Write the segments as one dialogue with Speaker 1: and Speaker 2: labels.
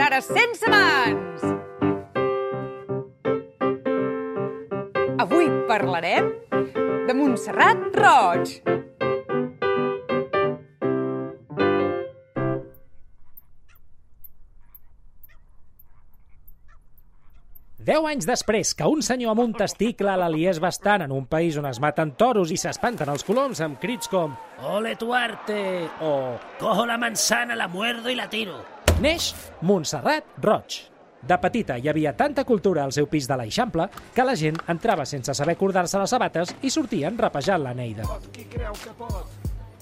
Speaker 1: ara sense mans. Avui parlarem de Montserrat Roig.
Speaker 2: Deu anys després que un senyor amb un testicle a l'Aliés bastant en un país on es maten toros i s'espanten els coloms amb crits com «Ole tu arte!» o
Speaker 3: Cojo la manzana, la muerdo y la tiro.
Speaker 2: Neix Montserrat Roig. De petita hi havia tanta cultura al seu pis de l'Eixample que la gent entrava sense saber cordar-se les sabates i sortien rapejant la Neida.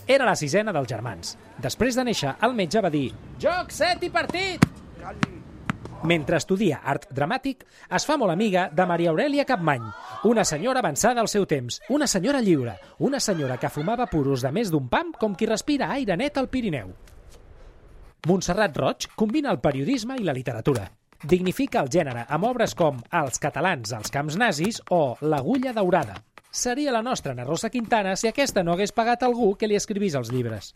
Speaker 2: Era la sisena dels germans. Després de néixer, el metge va dir «Joc, set i partit!» Mentre estudia art dramàtic, es fa molt amiga de Maria Aurelia Capmany, una senyora avançada al seu temps, una senyora lliure, una senyora que fumava puros de més d'un pam com qui respira aire net al Pirineu. Montserrat Roig combina el periodisme i la literatura. Dignifica el gènere amb obres com Els catalans als camps nazis o L'agulla daurada. Seria la nostra Ana Rosa Quintana si aquesta no hagués pagat algú que li escrivís els llibres.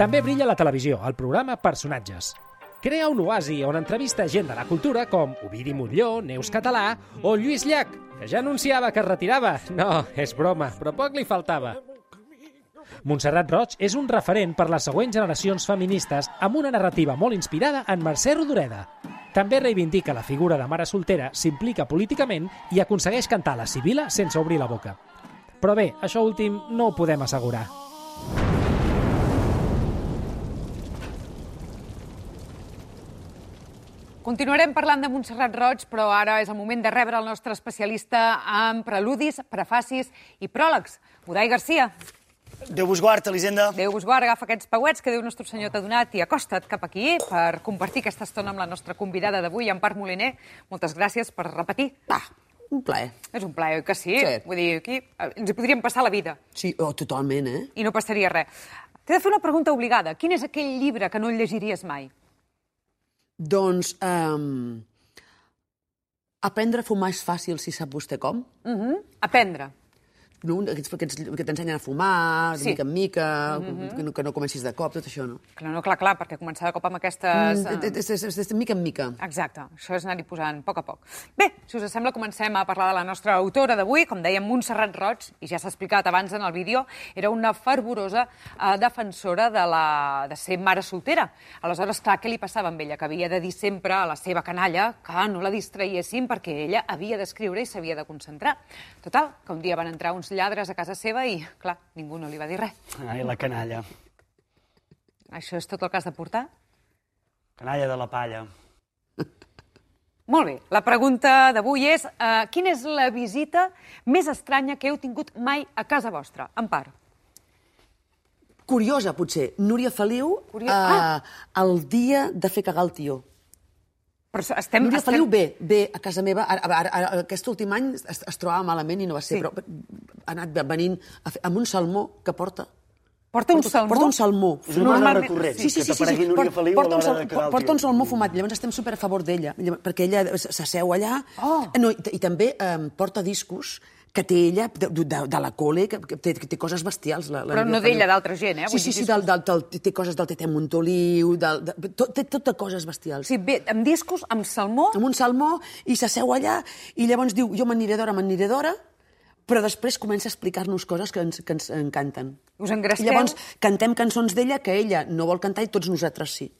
Speaker 2: També brilla la televisió, el programa Personatges. Crea un oasi on entrevista gent de la cultura com Ovidi Montlló, Neus Català o Lluís Llach, que ja anunciava que es retirava. No, és broma, però poc li faltava. Montserrat Roig és un referent per les següents generacions feministes amb una narrativa molt inspirada en Mercè Rodoreda. També reivindica la figura de mare soltera, s'implica políticament i aconsegueix cantar la Sibila sense obrir la boca. Però bé, això últim no ho podem assegurar.
Speaker 1: Continuarem parlant de Montserrat Roig, però ara és el moment de rebre el nostre especialista en preludis, prefacis i pròlegs, Budai Garcia.
Speaker 4: Déu vos guard, Elisenda.
Speaker 1: Déu us guard, agafa aquests pauets que Déu Nostre Senyor t'ha donat i acosta't cap aquí per compartir aquesta estona amb la nostra convidada d'avui, Ampar Moliner. Moltes gràcies per repetir.
Speaker 5: Va, un plaer.
Speaker 1: És un plaer, oi que sí?
Speaker 5: Sí.
Speaker 1: Vull dir, aquí eh, ens hi podríem passar la vida
Speaker 5: Sí, oh, totalment, eh?
Speaker 1: i no passaria res. T'he de fer una pregunta obligada. Quin és aquell llibre que no el llegiries mai?
Speaker 5: Doncs... Um, aprendre a fumar és fàcil, si sap vostè com.
Speaker 1: Uh -huh. Aprendre.
Speaker 5: No? Aquests, aquests que t'ensenyen a fumar, de
Speaker 1: Sí. Mm-hmm.
Speaker 5: mica en mica, que, no, que no comencis de cop, tot això, no?
Speaker 1: Clar, no, clar, clar, perquè començar de cop amb aquestes...
Speaker 5: Mm,
Speaker 1: eh,
Speaker 5: és, és, és, és de mica en mica.
Speaker 1: Exacte, això és anar-hi posant a poc a poc. Bé, si us sembla, comencem a parlar de la nostra autora d'avui, com dèiem, Montserrat Roig, i ja s'ha explicat abans en el vídeo, era una fervorosa eh, defensora de, la... de ser mare soltera. Aleshores, clar, què li passava amb ella? Que havia de dir sempre a la seva canalla que no la distraiessin perquè ella havia d'escriure i s'havia de concentrar. Total, que un dia van entrar uns lladres a casa seva i, clar, ningú no li va dir res.
Speaker 4: Ai, la canalla.
Speaker 1: Això és tot el que has de portar?
Speaker 4: Canalla de la palla.
Speaker 1: Molt bé, la pregunta d'avui és eh, quina és la visita més estranya que heu tingut mai a casa vostra, en part?
Speaker 5: Curiosa, potser. Núria Feliu,
Speaker 1: Curio-
Speaker 5: eh,
Speaker 1: Ah!
Speaker 5: el dia de fer cagar el tio.
Speaker 1: Però s- estem...
Speaker 5: Núria
Speaker 1: estem...
Speaker 5: Feliu, bé, bé, a casa meva, ara, ara, ara, aquest últim any es, es trobava malament i no va
Speaker 1: Sí.
Speaker 5: ser, sí. però ha anat venint a fer, amb un salmó que porta.
Speaker 1: Porta un salmó.
Speaker 5: Porta un salmó.
Speaker 4: És una cosa
Speaker 1: Normalment-
Speaker 4: recurrent,
Speaker 1: sí,
Speaker 4: que t'aparegui Núria Feliu a
Speaker 5: porta, un
Speaker 4: l'hora
Speaker 5: sal-
Speaker 4: de quedar el
Speaker 5: porta un
Speaker 4: tio.
Speaker 5: salmó fumat, llavors estem super a favor d'ella, llavors- perquè ella s- s'asseu allà,
Speaker 1: Oh.
Speaker 5: no, i, t- i també eh, porta discos que té ella, de, de, de la cole, que, que té, que té coses bestials. La, la
Speaker 1: Però no
Speaker 5: Núria
Speaker 1: d'ella,
Speaker 5: Feliu.
Speaker 1: d'altra gent, eh?
Speaker 5: Sí,
Speaker 1: Vull
Speaker 5: sí,
Speaker 1: dir,
Speaker 5: sí, del,
Speaker 1: discos.
Speaker 5: del, del, té coses del Tete Montoliu, del, de, tot, té tot de coses
Speaker 1: O
Speaker 5: bestials
Speaker 1: sigui, bé, amb discos, amb salmó...
Speaker 5: amb un salmó i s'asseu allà i llavors diu, jo m'aniré d'hora, m'aniré d'hora, però després comença a explicar-nos coses que ens, que ens encanten.
Speaker 1: Us engresqueu?
Speaker 5: I llavors cantem cançons d'ella que ella no vol cantar i tots nosaltres sí.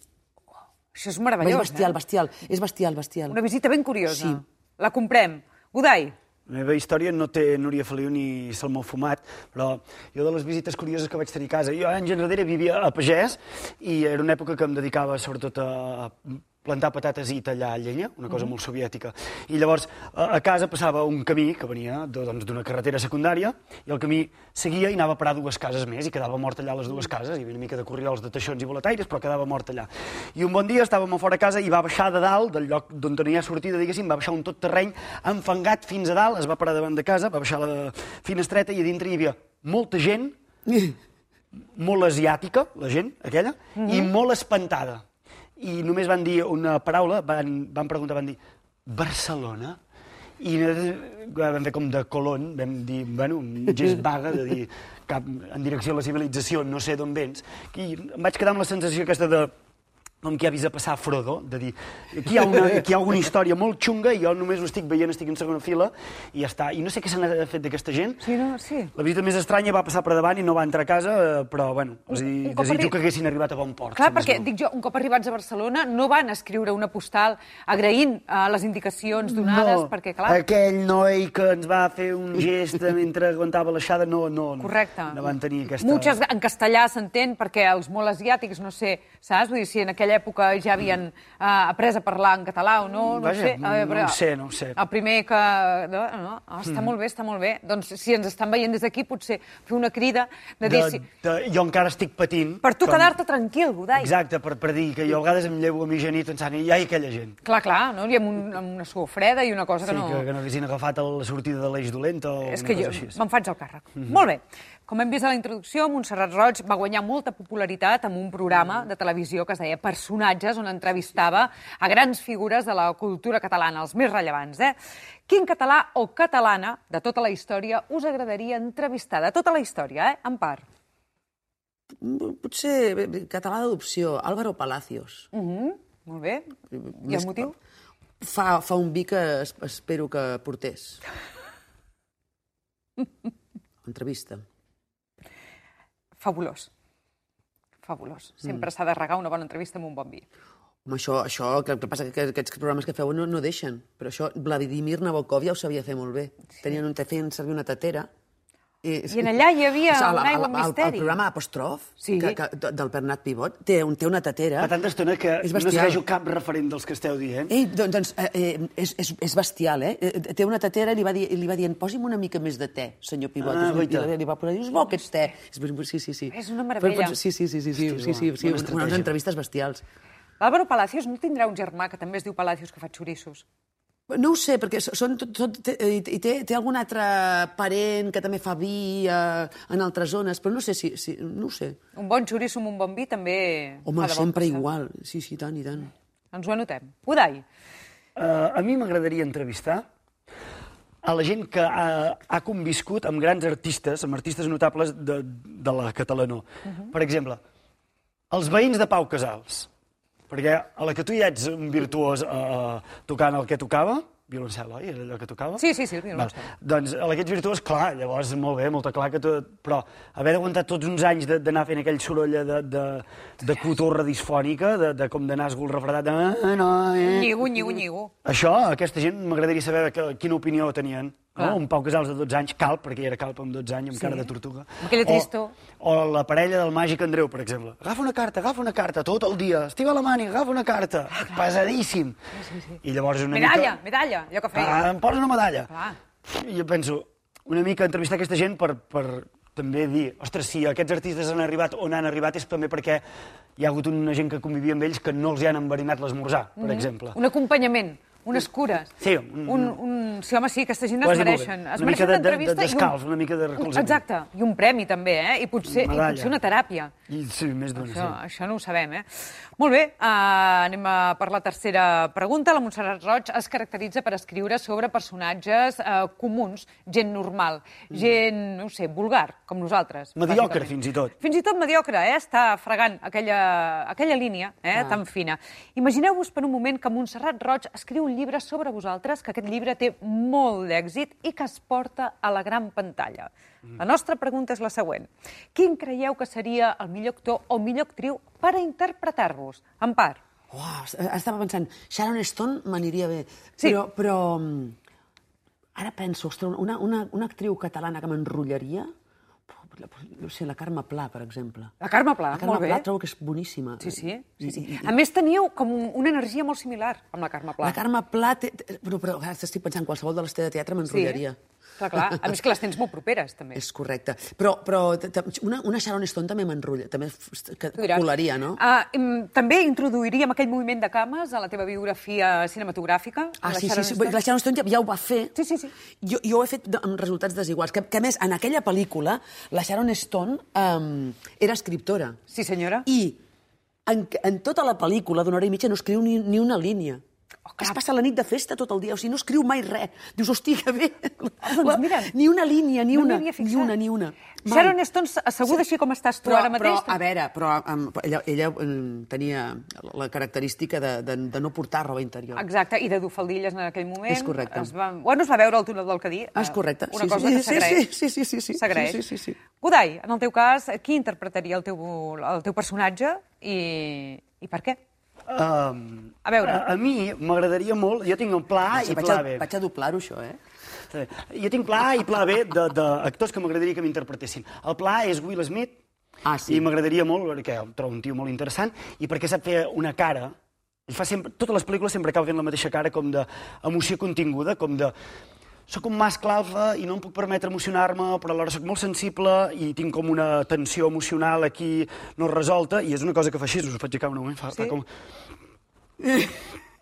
Speaker 1: Això és
Speaker 5: És
Speaker 1: meravellós,
Speaker 5: bestial,
Speaker 1: eh?
Speaker 5: bestial, és bestial, bestial.
Speaker 1: Una visita ben curiosa.
Speaker 5: Sí.
Speaker 1: La comprem. Godai,
Speaker 4: La meva història no té Núria Feliu ni Salmó Fumat, però jo de les visites curioses que vaig tenir a casa, jo anys enrere vivia a Pagès i era una època que em dedicava sobretot a plantar patates i tallar llenya, una cosa molt soviètica. I llavors a a casa passava un camí que venia de- doncs, d'una carretera secundària i el camí seguia i anava a parar dues cases més i quedava mort allà a les dues cases, hi havia una mica de corriols de teixons i volataires, però quedava mort allà. I un bon dia estàvem a fora a casa i va baixar de dalt, del lloc d'on tenia sortida, diguéssim, va baixar un tot terreny enfangat fins a dalt, es va parar davant de casa, va baixar la finestreta i a dintre hi havia molta gent, molt asiàtica, la gent aquella, i molt espantada. I només van dir una paraula, van, van preguntar, van dir, Barcelona? I nosaltres clar, vam fer com de colon, vam dir, bueno, un gest vaga de dir cap en direcció a la civilització, no sé d'on vens. I em vaig quedar amb la sensació aquesta de com que ja avisa passar Frodo, de dir, aquí hi, ha una, aquí hi ha alguna història molt xunga i jo només ho estic veient, estic en segona fila, i ja està. I no sé què se n'ha fet d'aquesta gent.
Speaker 1: Sí, no? Sí.
Speaker 4: La visita més estranya va passar per davant i no va entrar a casa, eh, però, bueno, els hi,
Speaker 1: un cop
Speaker 4: desitjo
Speaker 1: arri-
Speaker 4: que haguessin arribat a bon port.
Speaker 1: Clar,
Speaker 4: si més
Speaker 1: perquè,
Speaker 4: no.
Speaker 1: dic jo, un cop arribats a Barcelona, no van escriure una postal agraint eh, les indicacions donades, perquè, clar,
Speaker 4: aquell noi que ens va fer un gest mentre aguantava l'aixada, no, no, no.
Speaker 1: correcte.
Speaker 4: No van tenir aquesta...
Speaker 1: Muchas, en castellà s'entén, perquè els molt asiàtics, no sé, saps? Vull dir, si en aquella època ja havien eh, après a parlar en català o no, no
Speaker 4: Vaja,
Speaker 1: ho sé. A
Speaker 4: no ho sé, no ho sé. Mm.
Speaker 1: El primer que... No, no, ah, està molt bé, està molt bé. Doncs si ens estan veient des d'aquí, potser fer una crida de dir...
Speaker 4: De,
Speaker 1: si...
Speaker 4: de, jo encara estic patint.
Speaker 1: Per tu
Speaker 4: Doncs, com-
Speaker 1: quedar-te tranquil, Godai.
Speaker 4: Exacte, per, per dir que jo a vegades em llevo a mitjanit pensant, i ai, aquella gent.
Speaker 1: Clar, clar, no? I amb, un, amb una suor freda i una cosa
Speaker 4: Sí,
Speaker 1: que no...
Speaker 4: que, que no haguessin agafat el- la sortida de l'eix dolenta o
Speaker 1: És
Speaker 4: una
Speaker 1: que
Speaker 4: cosa
Speaker 1: jo
Speaker 4: així. Mhm.
Speaker 1: me'n faig el càrrec. Molt bé. Com hem vist a la introducció, Montserrat Roig va guanyar molta popularitat amb un
Speaker 4: Mhm.
Speaker 1: programa de televisió que es deia Personatges, on entrevistava a grans figures de la cultura catalana, els més rellevants. Eh? Quin català o catalana de tota la història us agradaria entrevistar? De tota la història, eh? en part.
Speaker 5: Mm, Potser bé, bé, català d'adopció, Álvaro Palacios.
Speaker 1: Mm. Molt bé. I
Speaker 4: Eh,
Speaker 5: Més
Speaker 1: el motiu?
Speaker 5: que- Fa, fa un vi que es, espero que portés. Entrevista.
Speaker 1: Fabulós. Fabulós. Sempre
Speaker 4: Mm.
Speaker 1: s'ha de regar una bona entrevista amb un bon vi.
Speaker 5: Home, això, això que, que passa que aquests programes que feu no, no deixen. Però això, Vladimir Nabokov ja ho sabia fer molt bé. Tenien un, feien servir una tetera. I,
Speaker 1: I en allà hi havia
Speaker 5: a la-
Speaker 1: un
Speaker 5: a
Speaker 1: aigua
Speaker 5: la- al-
Speaker 1: misteri.
Speaker 5: Al programa Apostrof,
Speaker 1: Sí.
Speaker 5: que, que, del Bernat Pivot, té, un, té una tetera.
Speaker 4: Fa tanta estona que
Speaker 5: És
Speaker 4: no
Speaker 5: bestial.
Speaker 4: segueixo cap referent dels que esteu dient.
Speaker 5: Ei, doncs, doncs eh, eh, és, és, és bestial, eh? Eh, Té una tetera i li va, dir, i li va dient posi'm una mica més de té, senyor Pivot.
Speaker 4: Ah,
Speaker 5: I li-
Speaker 4: guaita.
Speaker 5: I li va posar, dius, bo aquest té. És, ben- sí, sí, sí.
Speaker 1: És una meravella.
Speaker 5: Però, però, sí, sí, sí, sí, sí,
Speaker 4: Hosti,
Speaker 5: sí, sí,
Speaker 4: bona-
Speaker 5: sí,
Speaker 4: bona
Speaker 5: sí
Speaker 4: estratègia.
Speaker 5: unes entrevistes bestials.
Speaker 1: L'Àlvaro Palacios no tindrà un germà que també es diu Palacios que fa xorissos?
Speaker 5: No ho sé, perquè s- són tot, tot, té, eh, i té, té algun altre parent que també fa vi eh, en altres zones, però no sé si... si no ho sé.
Speaker 1: Un bon xoriço amb un bon vi també...
Speaker 5: Home,
Speaker 1: fa de bon
Speaker 5: sempre
Speaker 1: passar.
Speaker 5: igual. Sí, sí, i tant, i tant.
Speaker 1: Ens ho anotem. Udai,
Speaker 4: Uh, a mi m'agradaria entrevistar a la gent que ha, ha conviscut amb grans artistes, amb artistes notables de, de la catalanó.
Speaker 1: Mhm.
Speaker 4: Per exemple, els veïns de Pau Casals, perquè a la que tu ja ets un virtuós uh, tocant el que tocava, violoncel, oi? Era allò que tocava?
Speaker 1: Sí, sí, sí, el violoncel.
Speaker 4: Val. Doncs a aquests virtuós, clar, llavors molt bé, molt clar que tot... Però haver d'aguantar tots uns anys de- d'anar fent aquell soroll de, de, de cotorra disfònica, de, de com d'anar esgul refredat, de... "Ah, No, eh,
Speaker 1: nyigo, nyigo, nyigo.
Speaker 4: això, aquesta gent, m'agradaria saber que, quina opinió tenien. No?
Speaker 1: Clar.
Speaker 4: Un Pau Casals de 12 anys, calp, perquè ja era calp amb 12 anys, amb sí. cara de tortuga.
Speaker 1: Aquella tristor.
Speaker 4: O, o la parella del màgic Andreu, per exemple. Agafa una carta, agafa una carta, tot el dia. Estiva la màniga, agafa una carta.
Speaker 1: Ah,
Speaker 4: Pesadíssim. Sí, sí. I llavors una
Speaker 1: Medalla,
Speaker 4: mica...
Speaker 1: medalla, allò que feia.
Speaker 4: Ah, em posa una medalla.
Speaker 1: Clar.
Speaker 4: I jo penso, una mica entrevistar aquesta gent per, per també dir, ostres, si aquests artistes han arribat on han arribat és també perquè hi ha hagut una gent que convivia amb ells que no els hi han enverinat l'esmorzar, per exemple.
Speaker 1: Mhm. Un acompanyament, unes cures.
Speaker 4: Sí, un-
Speaker 1: un, un... Sí, home, sí, aquesta gent
Speaker 4: Ho
Speaker 1: es
Speaker 4: has dit molt
Speaker 1: mereixen.
Speaker 4: bé.
Speaker 1: Es mereixen
Speaker 4: Una mica de- de-
Speaker 1: entrevista i un-
Speaker 4: d'escalf, una mica de recolzament.
Speaker 1: Exacte, i un premi també, eh? I potser, i
Speaker 4: Medalla.
Speaker 1: potser una teràpia.
Speaker 4: I sí, més d'una,
Speaker 1: Això,
Speaker 4: sí.
Speaker 1: això no ho sabem, eh? Molt bé, uh, anem a per la tercera pregunta. La Montserrat Roig es caracteritza per escriure sobre personatges uh, comuns, gent normal, gent, no ho sé, vulgar, com nosaltres.
Speaker 4: Mediocre,
Speaker 1: bàsicament.
Speaker 4: fins i tot.
Speaker 1: Fins i tot mediocre, eh? Està fregant aquella, aquella línia eh? tan fina. Imagineu-vos per un moment que Montserrat Roig escriu un llibre sobre vosaltres, que aquest llibre té molt d'èxit i que es porta a la gran pantalla.
Speaker 5: Mm.
Speaker 1: La nostra pregunta és la següent. Quin creieu que seria el millor actor o millor actriu per a interpretar-vos? En part.
Speaker 5: Uau, es- estava pensant, Sharon Stone m'aniria bé.
Speaker 1: Sí.
Speaker 5: Però, però mm, ara penso, ostres, una, una, una actriu catalana que m'enrotllaria, no sé, la Carme Pla, per exemple.
Speaker 1: La Carme Pla,
Speaker 5: La Carme
Speaker 1: Ah, molt bé.
Speaker 5: Pla trobo que és boníssima.
Speaker 1: Sí, sí. sí, sí.
Speaker 5: I- i-
Speaker 1: A més, teníeu com un- una energia molt similar amb la Carme Pla.
Speaker 5: La Carme Pla... Té, té, però, però ara estic pensant, qualsevol de les té de teatre m'enrotllaria.
Speaker 1: Clar, clar. A més que les tens molt properes, també.
Speaker 5: És correcte. Però, però t- t- una, una Sharon Stone també m'enrotlla, també f- est- que
Speaker 1: Tu diràs.
Speaker 5: colaria, no?
Speaker 1: Ah, mm, també introduiríem aquell moviment de cames a la teva biografia cinematogràfica.
Speaker 5: Ah,
Speaker 1: la
Speaker 5: sí, sí,
Speaker 1: Sharon
Speaker 5: sí.
Speaker 1: Stone.
Speaker 5: La Sharon Stone ja, ja ho va fer.
Speaker 1: Sí, sí, sí.
Speaker 5: Jo, jo ho he fet de- amb resultats desiguals. Que, que a més, en aquella pel·lícula, la Sharon Stone um, era escriptora.
Speaker 1: Sí, senyora.
Speaker 5: I en, en tota la pel·lícula, d'una hora i mitja, no escriu ni, ni una línia.
Speaker 1: Oh,
Speaker 5: Que es
Speaker 1: crap.
Speaker 5: passa la nit de festa tot el dia, o sigui, no escriu mai res. Dius, hosti, que bé.
Speaker 1: doncs mira.
Speaker 5: Ni una línia, ni
Speaker 1: No m'hi
Speaker 5: una,
Speaker 1: havia
Speaker 5: ni
Speaker 1: fixat.
Speaker 5: una, ni una. Mai.
Speaker 1: Sharon Stone, asseguda així com estàs tu
Speaker 5: Però,
Speaker 1: ara mateix...
Speaker 5: però, a veure, però um, ella, ella mm, tenia la característica de, de, de no portar roba interior.
Speaker 1: Exacte, i de dur faldilles en aquell moment.
Speaker 5: És correcte.
Speaker 1: Es va... Bueno, es va veure al túnel del Cadí. eh,
Speaker 5: Ah, és correcte.
Speaker 1: Una
Speaker 5: Sí,
Speaker 1: cosa
Speaker 5: sí,
Speaker 1: que s'agraeix.
Speaker 5: sí, sí, sí, sí, sí.
Speaker 1: S'agraeix.
Speaker 5: Sí, sí, sí, sí.
Speaker 1: Godai, en el teu cas, qui interpretaria el teu, el teu personatge i, i per què?
Speaker 4: Um,
Speaker 1: A veure.
Speaker 4: A, a mi m'agradaria molt... Jo tinc un pla A Ah, i
Speaker 5: vaig,
Speaker 4: pla
Speaker 5: a,
Speaker 4: B.
Speaker 5: vaig a doblar-ho, això, eh?
Speaker 4: Sí. Jo tinc pla A i pla B d'actors que m'agradaria que m'interpretessin. El pla A és Will Smith,
Speaker 5: Ah, sí.
Speaker 4: i m'agradaria molt perquè el trobo un tio molt interessant i perquè sap fer una cara. Ell fa sempre, totes les pel·lícules sempre acaba fent la mateixa cara com d'emoció continguda, com de... Soc un mascle alfa i no em puc permetre emocionar-me, però alhora soc molt sensible i tinc com una tensió emocional aquí no resolta, i és una cosa que fa així, us ho faig aixecar un moment, fa, sí? fa com...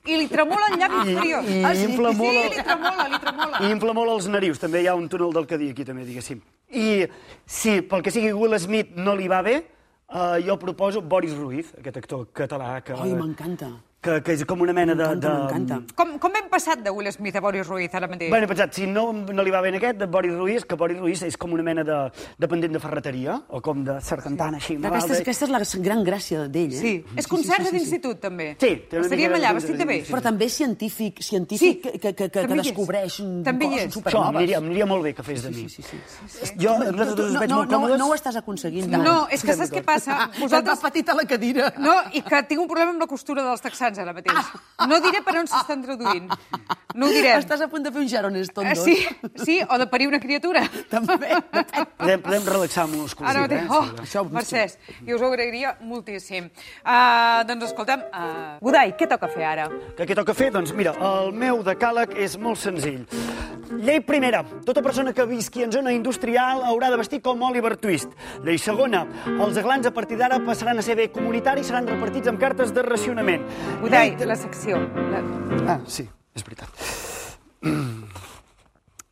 Speaker 1: I li tremola el llavi
Speaker 4: I,
Speaker 1: inferior.
Speaker 4: i
Speaker 1: Ah, sí?
Speaker 4: infla
Speaker 1: sí,
Speaker 4: molt... el-
Speaker 1: li tremola, li tremola.
Speaker 4: I infla molt els narius, també hi ha un túnel del cadí aquí, també, diguéssim. I si pel que sigui Will Smith no li va bé, eh, jo proposo Boris Ruiz, aquest actor català que,
Speaker 5: Ai, m'encanta.
Speaker 4: que, que és com una mena de...
Speaker 5: M'encanta,
Speaker 4: de...
Speaker 5: m'encanta.
Speaker 1: Com, com hem passat de Will Smith a Boris Ruiz ara mateix?
Speaker 4: Bueno, he pensat, si no, no li va bé en aquest, de Boris Ruiz, que Boris Ruiz és com una mena de dependent de ferreteria, o com de serpentana, així. malalt,
Speaker 5: Aquesta,
Speaker 4: eh?
Speaker 5: és- aquesta és la gran gràcia d'ell, eh?
Speaker 1: sí. És concert sí, sí, sí, d'institut, també.
Speaker 4: Sí, té una
Speaker 1: Estaríem
Speaker 4: mica de-
Speaker 1: allà, vestit de bé.
Speaker 5: Però també és científic,
Speaker 1: Sí,
Speaker 5: científic sí. que, que, que,
Speaker 1: també hi
Speaker 5: que
Speaker 1: és.
Speaker 5: descobreix mm,
Speaker 1: També hi és.
Speaker 5: coses
Speaker 4: Això,
Speaker 5: supernoves.
Speaker 4: m'aniria m'aniria molt bé que fes de mi.
Speaker 5: Sí, sí, sí.
Speaker 4: Jo, nosaltres
Speaker 5: Tu-
Speaker 4: dos
Speaker 5: no,
Speaker 4: veig
Speaker 5: no,
Speaker 4: molt
Speaker 5: no,
Speaker 4: còmodes.
Speaker 5: no Ah, ho estàs aconseguint.
Speaker 1: No, és que saps què passa?
Speaker 5: Vosaltres...
Speaker 1: Vosaltres...
Speaker 5: Et petit a la cadira.
Speaker 1: No, i que tinc un problema amb la costura dels texans ara mateix. No diré per on s'estan traduint. No ho direm.
Speaker 5: Ah. Estàs a punt de fer un Sharon Stone
Speaker 1: Ah,
Speaker 5: 2.
Speaker 1: sí, sí, o de parir una criatura.
Speaker 5: També.
Speaker 4: Podem, podem relaxar muscles.
Speaker 1: Ara mateix, oh,
Speaker 5: Això ho-
Speaker 1: Mercès, jo us ho agrairia moltíssim. Uh, doncs escolta'm, uh, Godai, què toca fer ara?
Speaker 4: Que què toca fer? Doncs mira, el meu decàleg és molt senzill. Llei primera, tota persona que visqui en zona industrial haurà de vestir com Oliver Twist. Llei segona, els aglans a partir d'ara passaran a ser bé comunitari i seran repartits amb cartes de racionament.
Speaker 1: Godai,
Speaker 4: Llei-
Speaker 1: la secció. La...
Speaker 4: Ah, sí, és veritat. Mm.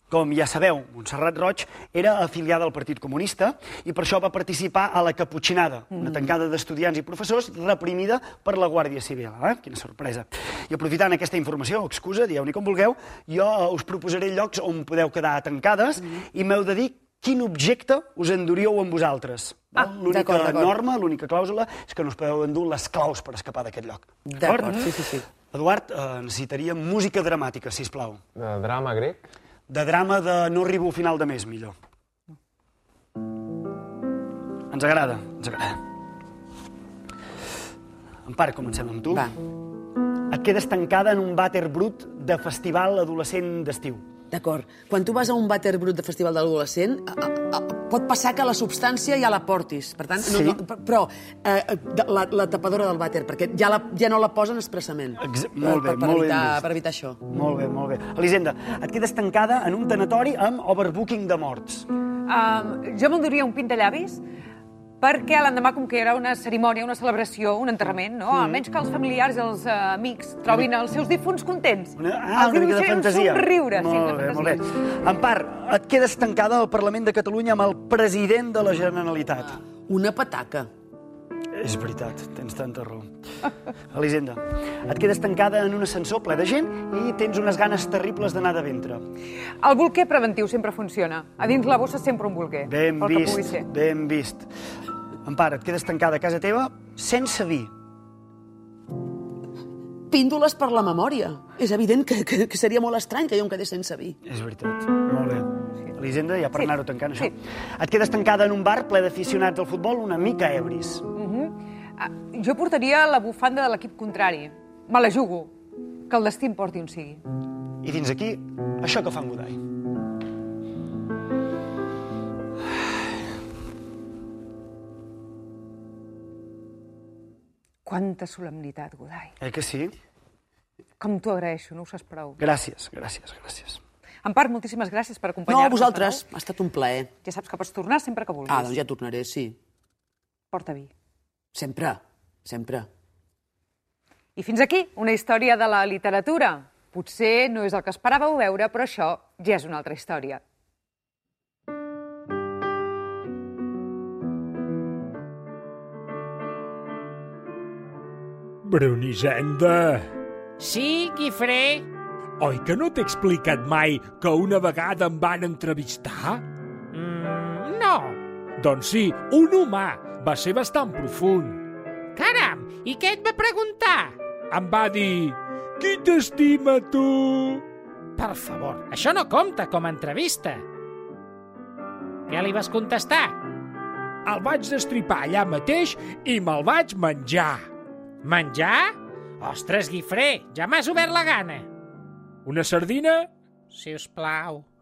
Speaker 4: Com ja sabeu, Montserrat Roig era afiliada al Partit Comunista i per això va participar a la Caputxinada,
Speaker 5: Mm.
Speaker 4: una tancada d'estudiants i professors reprimida per la Guàrdia Civil. Eh? Quina sorpresa. I aprofitant aquesta informació, o excusa, dieu-n'hi com vulgueu, jo eh, us proposaré llocs on podeu quedar tancades
Speaker 5: Mm.
Speaker 4: i m'heu de dir quin objecte us enduríeu amb vosaltres. Ah, l'única
Speaker 5: d'acord, d'acord.
Speaker 4: norma, l'única clàusula, és que no us podeu endur les claus per escapar d'aquest lloc.
Speaker 5: D'acord, sí, sí, sí.
Speaker 4: Eduard, eh, necessitaria música dramàtica, si plau.
Speaker 6: De drama grec?
Speaker 4: De drama de no arribo a final de mes, millor. Ens agrada, ens agrada. En part, comencem amb tu.
Speaker 5: Va,
Speaker 4: Et quedes tancada en un vàter brut de festival adolescent d'estiu.
Speaker 5: d'acord. Quan tu vas a un vàter brut de festival de l'adolescent, a- a- a- pot passar que la substància ja la portis. Per tant,
Speaker 4: Sí.
Speaker 5: no, no, p- però eh, de- la, la tapadora del vàter, perquè ja, la, ja no la posen expressament.
Speaker 4: Ex-
Speaker 5: Per-
Speaker 4: molt bé,
Speaker 5: per, per
Speaker 4: molt ben
Speaker 5: evitar,
Speaker 4: vist.
Speaker 5: Per evitar això.
Speaker 4: Molt bé, molt bé. Elisenda, et quedes tancada en un tanatori amb overbooking de morts.
Speaker 1: Uh, jo m'enduria un pintallavis perquè l'endemà, com que era una cerimònia, una celebració, un enterrament, no? Mm. Almenys que els familiars i els uh, amics trobin els seus difunts contents.
Speaker 4: Una, ah,
Speaker 1: Els
Speaker 4: una mica de
Speaker 1: dibuixaré un
Speaker 4: fantasia.
Speaker 1: somriure. sí,
Speaker 4: Molt
Speaker 1: una
Speaker 4: bé, molt
Speaker 1: fantasia.
Speaker 4: bé. En part, et quedes tancada al Parlament de Catalunya amb el president de la Generalitat.
Speaker 5: Una pataca.
Speaker 4: És veritat, tens tanta raó. Elisenda, et quedes tancada en un ascensor ple de gent i tens unes ganes terribles d'anar de ventre.
Speaker 1: El bolquer preventiu sempre funciona. A dins la bossa sempre un bolquer.
Speaker 4: Ben
Speaker 1: pel que pugui
Speaker 4: vist,
Speaker 1: ser.
Speaker 4: ben vist. En part, et quedes tancada a casa teva sense vi.
Speaker 5: Píndoles per la memòria. És evident que, que, que seria molt estrany que jo em quedés sense vi.
Speaker 4: És veritat, molt bé. Elisenda, ja per
Speaker 1: Sí.
Speaker 4: anar-ho tancant, això.
Speaker 1: Sí.
Speaker 4: Et quedes tancada en un bar ple d'aficionats al futbol una mica ebris.
Speaker 1: Ah, Jo portaria la bufanda de l'equip contrari. Me la jugo. Que el destí em porti on sigui.
Speaker 4: I fins aquí, això que fa en Godai.
Speaker 1: Quanta solemnitat, Godai.
Speaker 4: Eh que sí?
Speaker 1: Com t'ho agraeixo, no ho saps prou.
Speaker 4: Gràcies, gràcies, gràcies.
Speaker 1: En part, moltíssimes gràcies per
Speaker 5: No,
Speaker 1: acompanyar-nos.
Speaker 5: a vosaltres.
Speaker 1: de
Speaker 5: Ha estat un plaer.
Speaker 1: nou. Ja saps que pots tornar sempre que vulguis.
Speaker 5: Ah, doncs ja tornaré, sí.
Speaker 1: Porta vi.
Speaker 5: Sempre, sempre.
Speaker 1: I fins aquí, una història de la literatura. Potser no és el que esperàveu veure, però això ja és una altra història.
Speaker 7: Brunisenda,
Speaker 8: Sí, Guifré?
Speaker 2: Oi que no t'he explicat mai que una vegada em van entrevistar?
Speaker 8: Mm, no.
Speaker 2: Doncs sí, un humà. Va ser bastant profund.
Speaker 8: Caram, i què et va preguntar?
Speaker 2: Em va dir... Qui t'estima, tu?
Speaker 8: Per favor, això no compta com a entrevista. Què li vas contestar?
Speaker 2: El vaig destripar allà mateix i me'l vaig menjar.
Speaker 8: Menjar? Ostres, Guifré, ja m'has obert la gana.
Speaker 2: Una sardina?
Speaker 8: Si us plau.